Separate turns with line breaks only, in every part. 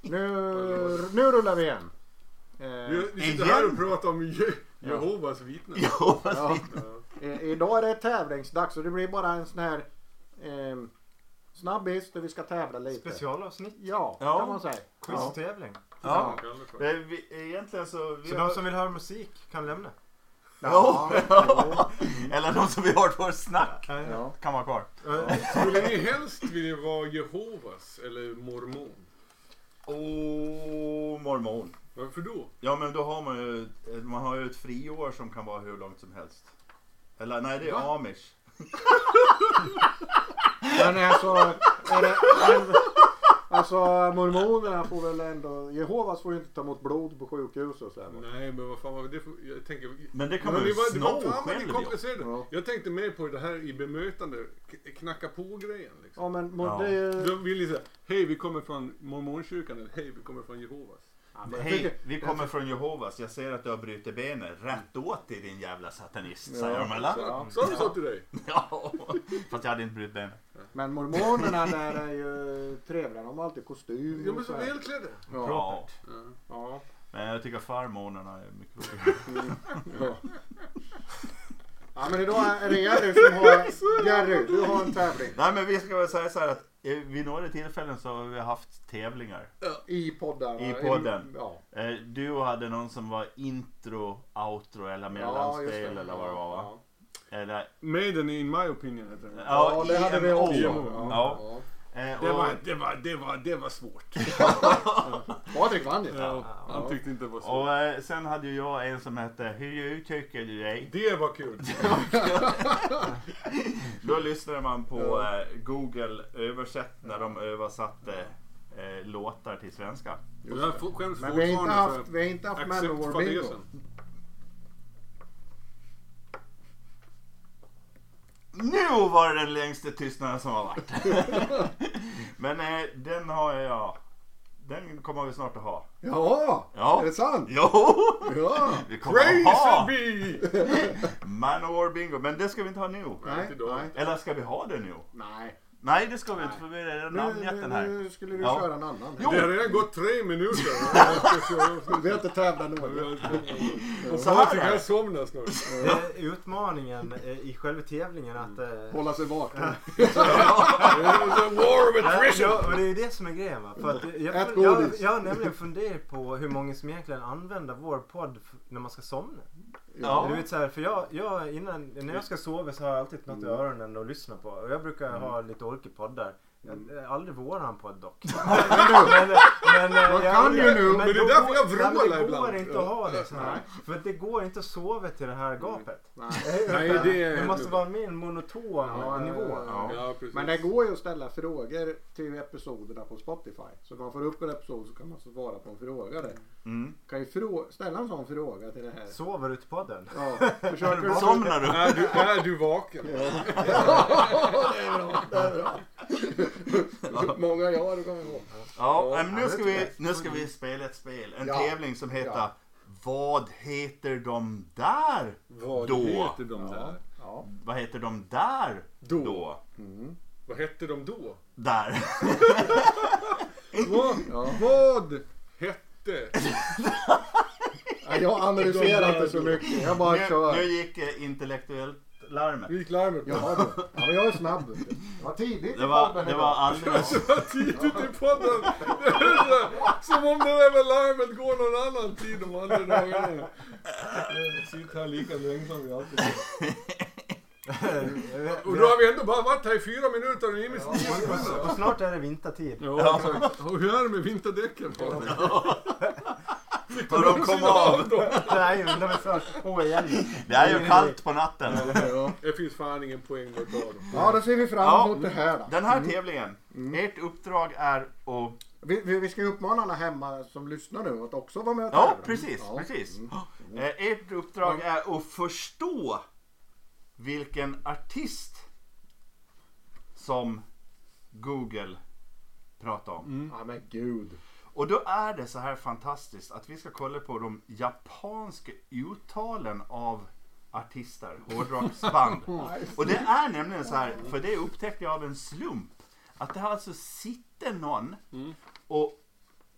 Nu, nu rullar vi igen. Eh,
Vi, vi sitter
Igen?
här och pratar om Je- Jehovas vittnen.
Jo, vad
Ja.
fint.
Ja.
eh, idag är det tävlingsdags och det blir bara en sån här ehm, snabbis där vi ska tävla lite.
Specialavsnitt.
Ja,
Ja.
kan man säga.
Quiztävling.
Ja.
Kalle får-
Men vi- Egentligen så... Vi
Så
har-
de som vill höra musik kan lämna.
Ja. Eller de som vi har hört vår snack
Ja.
Ja.
kan vara kvar.
Ja.
Skulle ni helst vilja vara Jehovas eller mormon?
Åh, mormon.
Varför då?
Ja men då har man ju, man har ju ett friår som kan vara hur långt som helst. Eller nej det är
Va?
amish.
Men alltså, är det, men, alltså mormonerna får väl ändå, Jehovas får ju inte ta emot blod på sjukhus och sådär. va?
Nej men vad fan var det för... Jag tänker...
Men det kan
Men
man
det
ju
var, det var
sno
fan vad ni
själv ja.
komplicerade.
Ja.
Jag tänkte mer på det här i bemötande, k- knacka på grejen liksom.
Ja men mor-
Ja.
det är ju...
Då vill ni säga, hej vi kommer från mormonkyrkan eller hej vi kommer från Jehovas.
Ja, men jag
Hej,
tycker-
vi kommer från Jehovas. Jag ser att du har brutit benet. Rätt åt dig din jävla satanist,
Ja.
säger de eller?
Ja.
Sa de så till dig?
Ja. Fast jag hade inte brutit benet.
Men mormonerna där är ju trevliga, de har alltid kostym
Ja men
och
så
så här.
välklädda.
Ja.
Ja.
Ja.
Ja.
Men jag tycker farmonerna är mycket roligare.
Ja. ja men idag är det Jerry som har... Jerry, du har en tävling.
Nej men vi ska väl säga så här att eh, vid några tillfällen så har vi haft tävlingar.
I podden.
I podden.
Ja.
Eh, Du hade någon som var intro, outro eller
Ja, just
mellanspel
det.
eller vad det var va?
Ja.
Eller,
Maiden in my opinion heter den.
Ja, det hade vi också.
IMO. Ja.
Ja.
Eh,
Det
och-
var, det, var, det, var, det var svårt.
Patrik vann ju.
Ja, han tyckte inte det var svårt.
Och eh, sen hade ju jag en som hette Hur uttrycker du dig?
Det var kul.
Då lyssnade man på eh, Google översätt när de översatte eh, låtar till svenska.
Jag får- skäms
Men vi har inte
fortfarande
haft,
för
vi har inte haft Manowar Bingo.
acceptfadäsen.
Nu var det den längsta tystnaden som har varit. Men eh, den har jag. Den kommer vi snart att ha.
Ja,
Ja.
är det sant?
Jo!
Ja.
Vi kommer
Crazy
att ha
bee!
Manowar Bingo. Men det ska vi inte ha nu.
Nej,
Inte idag.
nej.
Eller ska vi ha det nu?
nej.
Nej det ska vi inte för vi är redan namngett
Nu,
den
nu,
här.
nu skulle vi
Ja.
köra en annan.
Jo.
Det har redan gått tre minuter. Jag ska köra.
Vi har inte tävlat något.
Och så
Jag
här
tycker
är
jag
det.
somnar snart.
Det är utmaningen eh, i själva tävlingen att... eh,
Hålla sig vaken.
It was a war of
Ja,
attrition.
ja, och det är ju det som är grejen va. För att jag,
Ät
jag, jag,
godis.
jag har nämligen funderat på hur många som egentligen använder vår podd f- när man ska somna.
Ja.
Du vet, så här, för jag, jag, innan, när jag ska sova så har jag alltid något i
Mm.
öronen att lyssna på. Och jag brukar ha lite olika poddar. Jag-
Mm.
eh, Aldrig våran podd dock. men, men, eh,
Man
jag-
kan ju nu,
men det är
då
därför
går-
jag
nej, men
vrålar
Det
ibland.
går inte att ha det så här. För att det går inte att sova till det här gapet.
Nej, det är-
det måste vara mer en monoton
Ja,
nivå.
ja, ja.
Ja, precis.
Men det går ju att ställa frågor till episoderna på Spotify. Så när man får upp en episod så kan man svara på en fråga där.
Mm.
kan ju frå- ställa en sån fråga till det här.
Sover ut podden?
Ja, försöker du...
Somnar du?
Är du, är du vaken?
Ja, det är bra. Det är bra. Många ja, du kommer ihåg.
Ja,
Ja,
men nu
det
ska,
tycker
vi,
jag.
nu ska vi spela ett spel. En
Ja.
tävling som heter
Ja.
Vad heter de där?
Vad
Då.
heter de där?
Ja.
Vad heter de där?
Då.
Då.
Vad hette de då?
Där.
Vad,
Ja.
vad hette?
Nej, Jag analyserar inte så mycket. Jag bara
Nu, nu
kör.
gick eh, intellektuellt larmet.
Nu gick larmet.
Jaha du. Ja, men jag är snabb. vet du. Det var tidigt
Det
i
var,
podden
det
idag.
var alldeles...
Så här Alltså, tidigt i podden. Det är så här, Som om det där med larmet går någon annan tid de andra dagarna. Jag Eh, sitter här lika länge som vi alltid gör. Och då har vi ändå bara varit här i fyra minuter och ni är med nio sekunder.
Och snart är det vintertid.
Ja, exakt. Och hur är det med vinterdäcken?
Och de kom av.
Nej, men de är snart på igen.
Det är ju kallt på natten.
Ja.
Det finns fan ingen poäng med att ta dem.
Ja, då ser vi
Ja.
fram emot det här då.
Den här tävlingen. Ert uppdrag är att...
Vi, vi, vi ska ju uppmana alla hemma som lyssnar nu att också vara med och
Ja,
tävla.
precis.
Ja.
precis. Eh, Ert uppdrag är att förstå vilken artist som Google pratar om.
Ja, men gud.
Och då är det så här fantastiskt att vi ska kolla på de japanska uttalen av artister, hårdrocksband. Och det är nämligen så här, för det
Mm.
upptäckte jag av en slump, att det har alltså sitter någon och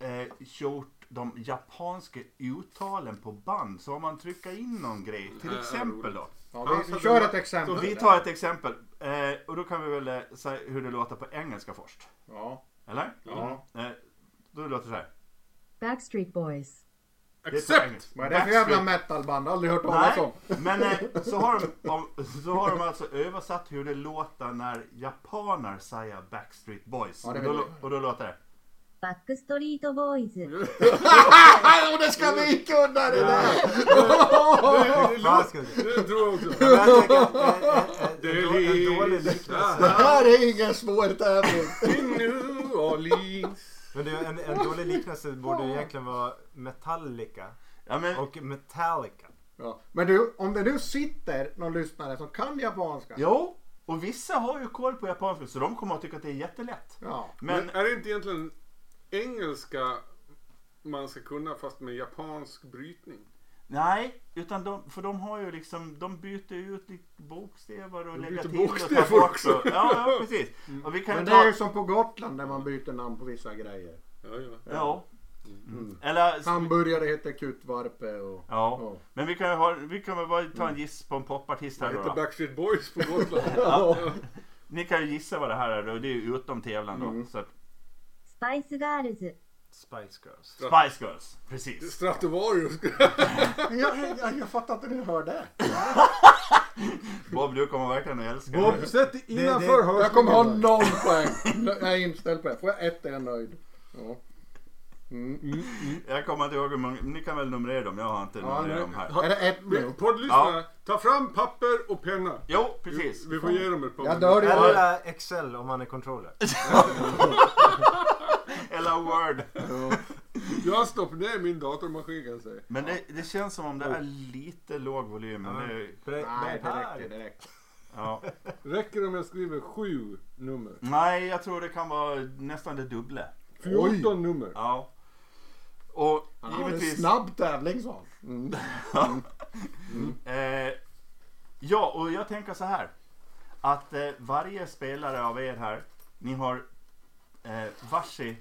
eh, gjort de japanska uttalen på band så har man tryckat in någon grej. Till
Ja,
exempel då.
Ja, vi, vi kör ett exempel.
Vi tar ett exempel eh, och då kan vi väl eh, säga hur det låter på engelska först.
Ja.
Eller?
ja.
Eh, då låter det så här.
Backstreet Boys.
Det är på
Accept!
engelska.
Vad är det för jävla metalband? Aldrig hört talas om.
Nej, men eh, så, har de, om, så har de alltså översatt hur det låter när japaner säger Backstreet Boys.
Ja, det
och, då,
vill
lå- och då låter det.
バックストリートボーイズ。
Och det ska vi kunna det där!
Det
Ja,
låter-
ska vi se.
Det tror jag också.
Men jag tänker, eh, eh, eh,
Det
en då- en dålig
är
liknelse.
Det här är ingen svår tävling.
i New Orleans.
Men det, är en, en dålig liknelse borde ju egentligen vara Metallica
Ja, men,
och Metallica.
Ja. Men du, om det nu sitter någon lyssnare som kan japanska.
Jo, och vissa har ju koll på japanska så de kommer att tycka att det är jättelätt.
Ja.
Men,
Men är det inte egentligen engelska man ska kunna fast med japansk brytning?
nej, utan de, för de har ju liksom, de byter ju ut lite bokstäver och
De
lägger
byter
till och
bokstäver
tar bort.
också.
och- Ja, ja, precis. Och vi kan
Mm. Men det
ta,
är ju som på Gotland där man byter namn på vissa grejer.
Ja, ja.
Ja.
Mm.
Eller,
Hamburgare heter kutvarpe och...
ja. Men vi kan ju ha, vi kan väl bara ta
Mm.
en giss på en popartist här
Det
då.
heter
då.
Backstreet Boys på Gotland.
Ja.
Ni kan ju gissa vad det här är och det är ju utom tävlan då.
Mm.
Så att,
スパイスガールズ。
Spice Girls.
Spice Girls, precis.
Stratovarius.
Jag, jag, jag fattar inte hur ni hör det.
Bob, du kommer verkligen att älska det.
Bob, sätt dig
Det- det-
innanför hörseln. Jag kommer ha noll poäng. Jag är inställd på det. Får jag ett är jag nöjd. Ja.
Jag kommer inte ihåg hur många, ni kan väl numrera dem, jag har inte numrerat dem här.
Är det ett nu?
Poddlyssnare, ta fram papper och penna.
Jo, precis.
Vi får ge dem ett par
Jag
minuter.
dör ju.
Eller Excel om man är controller.
Eller Word.
Jag stoppar ner min datormaskin kan jag säga.
Men det, det känns som om det
Oh.
är lite låg volym. Men det, är-
För det-
Nej,
det
det
här-
räcker. Det räcker.
ja.
Räcker det om jag skriver sju nummer?
Nej, jag tror det kan vara nästan det dubbla.
14 nummer.
Ja. Och
Ja, det är en
givetvis...
snabb tävling sa han. Mm.
Eh, ja, och jag tänker så här. Att eh, varje spelare av er här, ni har eh, varsi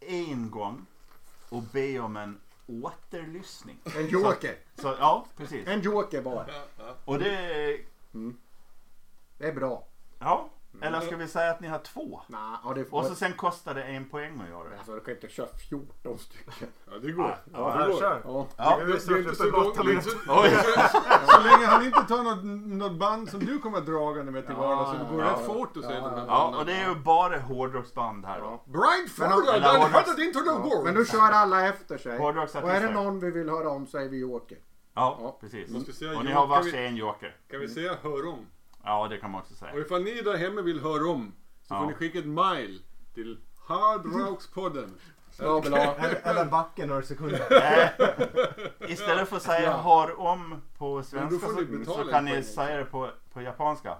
en gång och be om en återlyssning.
En joker.
Så, ja, precis.
En joker bara.
Och det...
Det är bra.
Ja. Eller ska vi säga att ni har två?
Nej, ja, det får...
Och så sen kostar det en poäng att göra det.
Alltså, du kan inte köra 14 stycken.
Ja, det går.
Ja,
det går.
kör.
Ja.
Ja.
Nu
Det
är vi
är inte så
snart uppe i
långt.
åtta
det är inte
minuter.
så- Så länge han inte tar något, något band som du kommer dragande med till
Ja,
vardags så det går
ja,
rätt
ja.
fort att säga
Ja,
de här
ja.
Ja, och
namnen.
det är ju bara hårdrocksband här då.
Brian Ford,
Men-
den
Hårdrocks-
hade inte någon
Ja,
gård.
men nu kör alla efter sig.
Hårdrocksartister.
Och är det någon vi vill höra om så är vi joker.
Ja,
Ja.
Måste
precis.
säga
Och ni
joker.
har varsin en joker.
Kan vi säga hör om?
Ja, det kan man också
Och
säga.
ifall ni där hemma vill höra om så
Ja.
får ni skicka ett mail till Hardrockspodden.
Snabel
Eller- Eller backen några sekunder.
Eh, Istället för att säga
Ja.
har om på
Men då
svenska
får ni
så,
betala
så kan
en
ni
poäng.
säga det på, på japanska.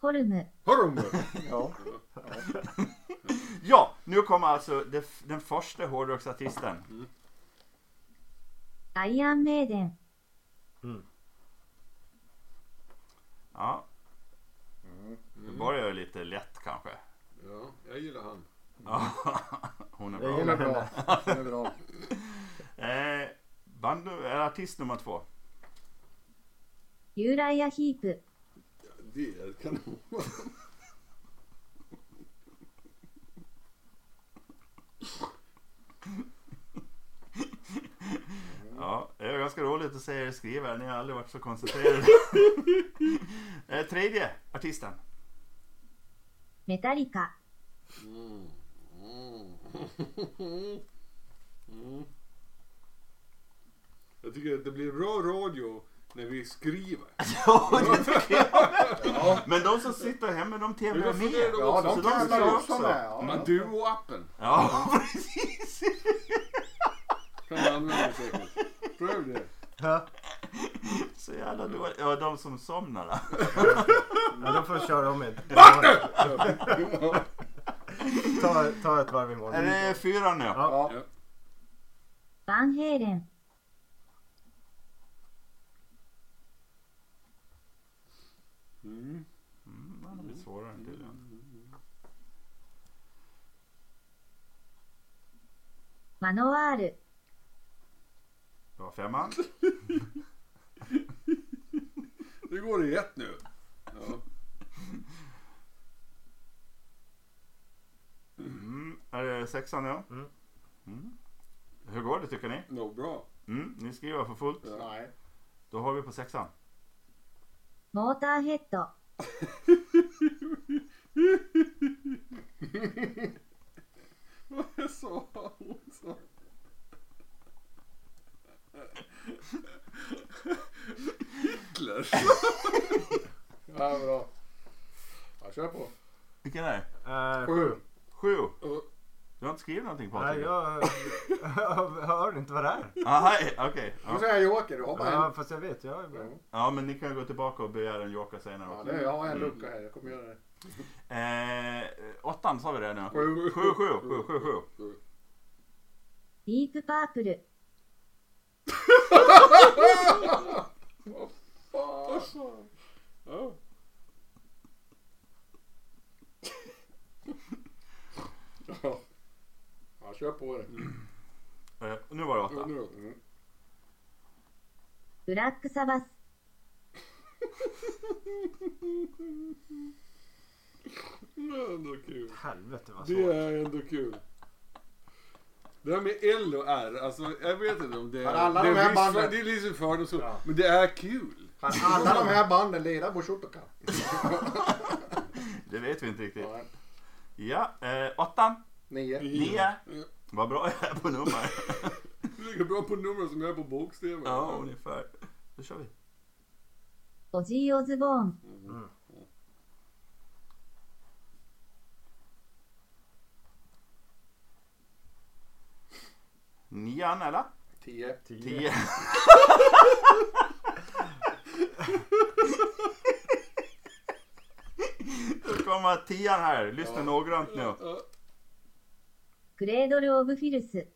ホルム。
Hör om!
Ja.
Ja, nu kommer alltså det, f- den första hårdrocksartisten.
アイアンメイデン。
Ja. Nu börjar jag lite lätt kanske.
Ja, jag gillar han.
Ja, hon är
Hon
bra.
är bra. Hon är bra.
Eh, band, eller artist nummer två.
ユーライアヒープ。
Det är kanon.
Ja, det är ganska roligt att se er skriva. Ni har aldrig varit så koncentrerade. eh, tredje artisten.
メタリカ。
Jag tycker att det blir bra radio när vi skriver.
Ja, det tycker jag med. Men de som sitter hemma, de
Men då får
tävlar
det
med.
då-
Ja,
Så
de
de ska
tävlar också
också.
med. Ja.
Maduo-appen
Ja, precis.
kan man använda säkert. Pröv det.
Ja,
Så jävla dåligt. Ja, de som somnar. då.
då får jag köra om ett.
Ja.
Ta, ta ett varv imorgon.
Är det fyra nu?
Ja.
Ja.
バンヘイレン。
Mm.
Mm, det blir svårare än tydligen.
マノワール、
Det var femman.
Nu går det i ett nu. Ja.
Mm. Är det sexan nu?
Mm.
Mm. Hur går det tycker ni?
Nog bra.
Mm. Ni skriver för fullt.
Ja.
Nej.
Då har vi på sexan.
モーターヘッド、
Vad sa hon? sa? Hitler?
Ja, bra. Ja, kör på.
Vilken är det?
Eh,
Sju.
Sju.
Ja.
Du har inte skrivit någonting
Nej,
Patrik?
jag hör inte vad det är.
Ah, hej, okej.
Nu
Ja.
säger jag joker. Du har bara
Ja,
en.
fast jag vet. Jag är bra.
ja, men ni kan gå tillbaka och begära en joker senare
Ja,
också.
det, jag har en lucka här. Jag kommer göra det.
Eh, åttan sa vi det nu?
Sju.
Sju, sju, sju, sju, sju.
ディープパープル、
Alltså. Ja. Ah.
Ja. Ja,
é
kör på det.
Eh, nu var det åtta.
Ja, nu då.
Mm.
ブラックサバス、
Det är ändå kul.
Helvete vad
Det
svårt.
är ändå kul. Det här med L och R, alltså jag vet inte om det är...
Har alla
det,
de
är
här
viss,
banden-
det är liksom fördomsfullt,
Ja.
men det är kul.
Kan alla de här banden leda på Shotokan?
Det vet vi inte riktigt. Ja, eh, åttan,
Nio.
nio.
Ja.
Vad bra jag är på nummer.
Du är lika bra på nummer som jag är på bokstäver.
ja, ungefär. Då kör vi.
オジー・オズボーン、
Nian eller?
Tio.
Tio. Nu kommer tian här. Lyssna noggrant nu.
Ja.
クレードル・オブ・フィルス、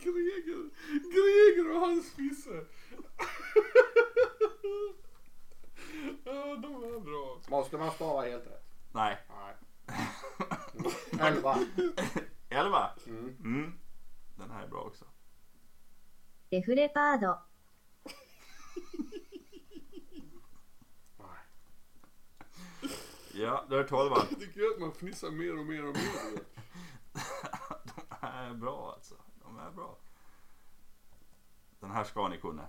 Greger, Greger och hans fisse. ja, de är bra.
Måste man stava helt rätt?
Nej.
Nej. Elva.
Elva.
Mm.
Mm. Den här är bra också.
デフレパード、
Ja, då är tolvan.
Jag tycker att man fnissar mer och mer och mer.
De här är bra alltså. De är bra. Den här ska ni kunna.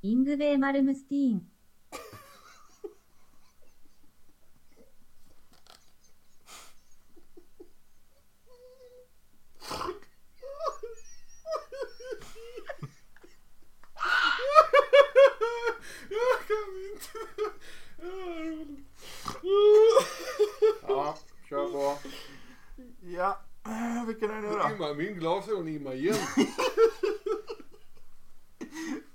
イングベイ・マルムスティーン、
Jag kan inte.
Ja, kör på.
Ja, vilken är det nu
Ja,
då?
imma, min glasögon immar igen.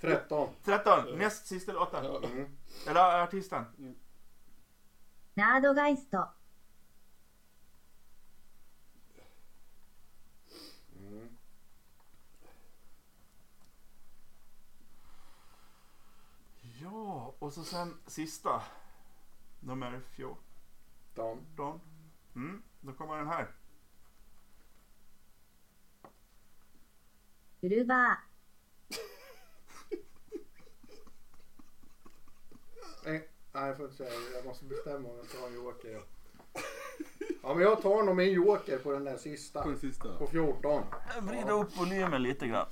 Tretton.
13. Näst sista låten.
Ja.
Mm.
Eller artisten.
ナードガイスト、
Mm.
Ja, och så sen sista. Nummer 14.
Tom.
Mm, då kommer den här.
ウルバー、
Nej, Eh, nej, jag får inte säga det. Jag måste bestämma om jag ska ha en joker. ja. Ja, men jag tar nog min joker på den där
På
sista.
den sista.
På 14.
Vrida upp volymen lite grann.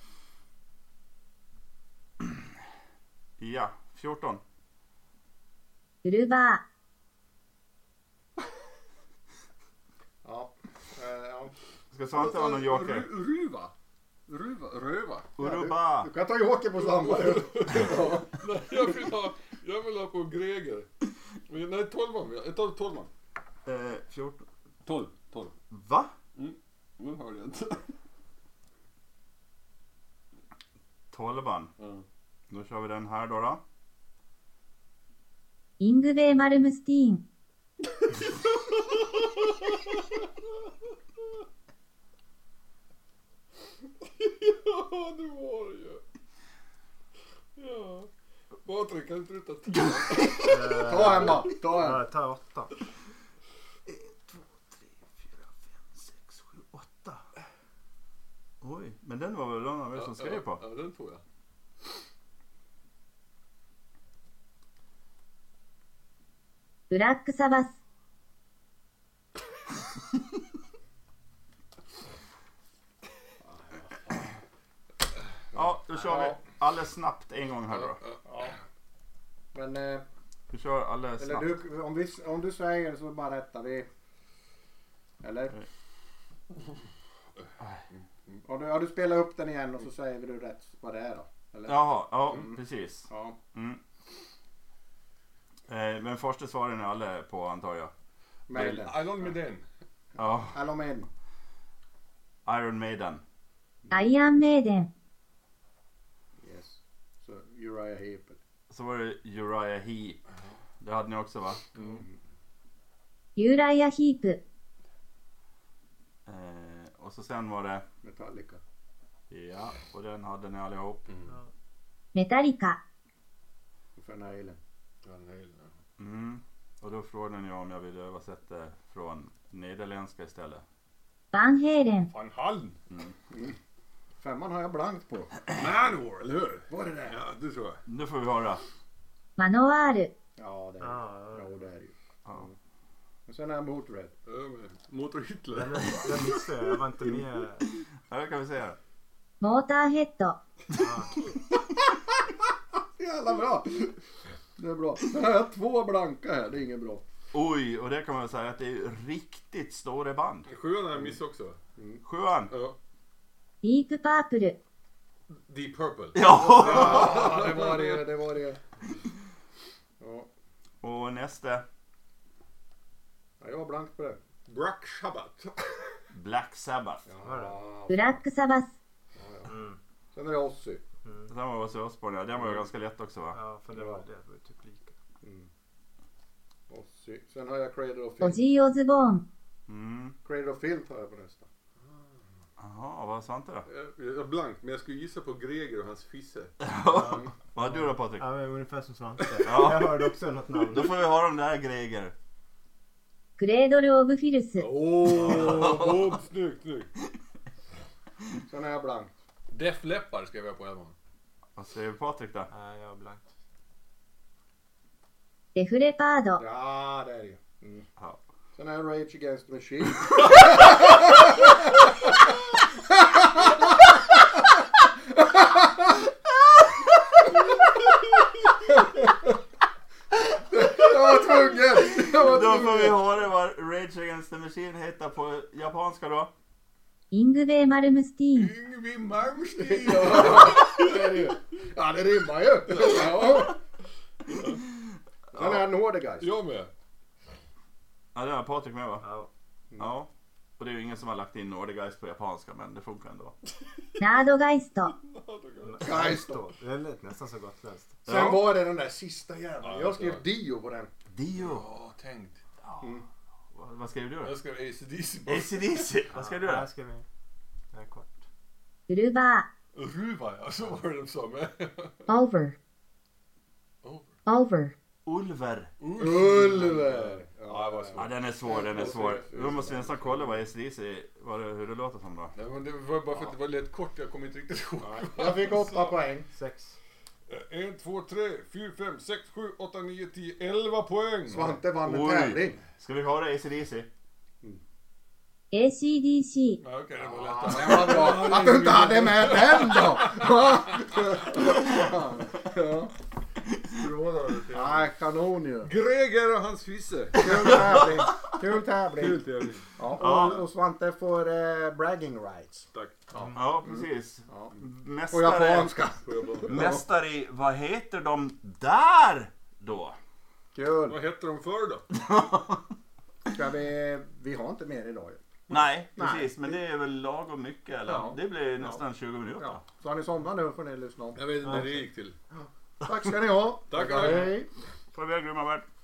Ja, 14.
ウルバー、
Ja. Eh, ja.
Ska Svante ha någon joker?
Ru- Ruva. Ruva. Röva.
Uruba.
Du kan ta joker på samma. Ja.
Nej, jag vill ha, jag vill ha på Greger. Men, nej, tolvan vill jag. Jag tar tolvan.
Eh, 14.
Tolv. Tolv.
Va?
Nu hörde jag inte.
12.
Ja.
Då kör vi den här då. då.
イングベイ・マルムスティーン、
Ja, det var det ju. Ja. Patrik, kan inte du ta tio?
Ta en bara. Ta en.
Jag tar åtta.
2, 3, 4, 5, 6, Oj, men den var väl någon av er som skrev på?
Ja, den tror jag.
Black Sabbath.
Ja, då kör vi alldeles snabbt en gång här då.
Men eh,
Vi kör alldeles
eller
snabbt.
du, om, vi, om du säger så bara rättar vi. Eller? Om du, ja, du spelar upp den igen och så säger vi du rätt vad det är då. Eller?
Jaha, ja precis.
Ja.
Mm. Eh, men första svaren är alla på antar jag.
Maiden.
Along med den.
Ja,
Allomin.
Iron Maiden.
アイアンメイデン。
Yes. Så Uriah Heep.
Så var det Uriah Heep. Det hade ni också va?
ユーライアヒープ。
Eh, och så sen var det...
Metallica.
Ja, och den hade ni allihop.
メタリカ。
Van Halen.
Van Halen.
Mm. Och då frågade ni om jag ville översätta från nederländska istället.
バンヘイレン。
Van Halen.
Femman har jag blankt på.
Manowar, eller hur?
Var det det?
Ja, det tror jag.
Nu får vi höra.
マノワール。
Ja, det är det.
Ja,
Ja, det är det ju.
Ja.
Men sen är han Motörhead.
Ja, men Motor Hitler.
Den, den missade jag. Jag var inte med.
Här kan vi se det.
モーターヘッド。
Jävla bra! Det är bra. Men här har jag två blanka här, det är inget bra.
Oj, och det kan man väl säga att det är riktigt stora band.
Sjuan har jag missat också.
Sjuan.
Ja.
ディープパープル。
Deep Purple.
Ja!
Ja, det var det, det var det. Ja,
Och nästa.
Ja, jag har blankt på det.
Black Sabbath.
Black Sabbath.
Ja.
ブラックサバス。
Sen är det Ozzy.
Den var Ozzy Osbourne, ja. Den var ju ganska lätt också va?
Ja, för det var, det var ju typ lika.
Ozzy. Sen har jag Cradle of
オ
Filth.
ジー・オズボーン。
Mm.
Cradle of Filth har jag på nästa.
Jaha, vad sa inte då?
Jag jag är blank, men jag skulle gissa på Greger och hans fisse.
Vad hade du då Patrik?
Ja, men ungefär som Svante.
Ja.
Jag hörde också något namn.
Då får vi höra om det här Greger.
クレードル・オブ・フィルス。
Åh, Bob, snyggt, snyggt.
Sen har jag blankt.
Def Leppard skrev jag på en gång.
Vad säger Patrik då?
Nej, jag har blankt.
デフレパード。
Ja, det är det mm.
Ja.
Sen har jag Rage Against the Machine. jag var tvungen! Jag var
Då
tvungen!
får vi höra vad Rage Against the Machine heter på japanska då.
イングベイ・マルムスティーン。
Yngwie Malmsteen.
Det är det ju. Ja, det rimmar ju! Ja. Sen är han Nordic guys.
Jag med.
Ja, det har Patrik med va?
Ja.
Ja. Och det är ju ingen som har lagt in Nordegeist på japanska, men det funkar ändå.
ナードガイスト。
Guys då.
Då. Det lät nästan så gotländskt.
Sen
Ja.
var det den där sista jäveln.
Ja,
Jag
det
skrev
var-
Dio på den.
Dio.
Ja, tänkt.
Vad vad skrev du då?
Jag skrev ACDC på.
ACDC. Vad skrev du
Ja,
då?
Här ska vi... Det här är kort.
ウルバ
Ruva ja, så var det de sa med.
ー。オーバー。
Over.
オーバー。
Ulver.
Ulver!
Ja, det var
Ja,
svårt.
den är svår, den är svår. Då måste vi nästan kolla vad ACDC, vad det, hur det låter som då.
Nej, men det var bara för att det var lätt kort, jag kommer inte riktigt ihåg. eh,
Jag fick åtta poäng.
Sex.
1, 2, 3, 4, 5, 6, 7, 8, 9, 10, 11 poäng!
Svante vann en
Oj.
tävling.
Ska vi höra ACDC?
ACDC。
Ja, Okej, det var
Ja,
lättare.
det var bra. Att du inte hade med den då! Va? Ja. Nej, kanon ju.
Greger och hans fisse.
Kul tävling. Kul tävling.
Kul tävling.
Ja, och, och Svante får eh, bragging rights.
Tack.
Ja, precis.
Mm. Ja. På
Mästare,
japanska.
Får jag bara-
mästare i, vad heter de där
Mm.
då?
Kul.
Vad hette de förr då?
Ska vi... Vi har inte mer idag ju.
Nej,
Nej.
precis. Men det är väl lagom mycket eller?
Ja.
Det blir nästan 20 minuter.
Ja. Så har ni somnat nu får ni lyssna om.
Jag vet inte hur det gick till.
Tack ska ni ha.
Tack, tack.
Hej.
Farväl grymma värld.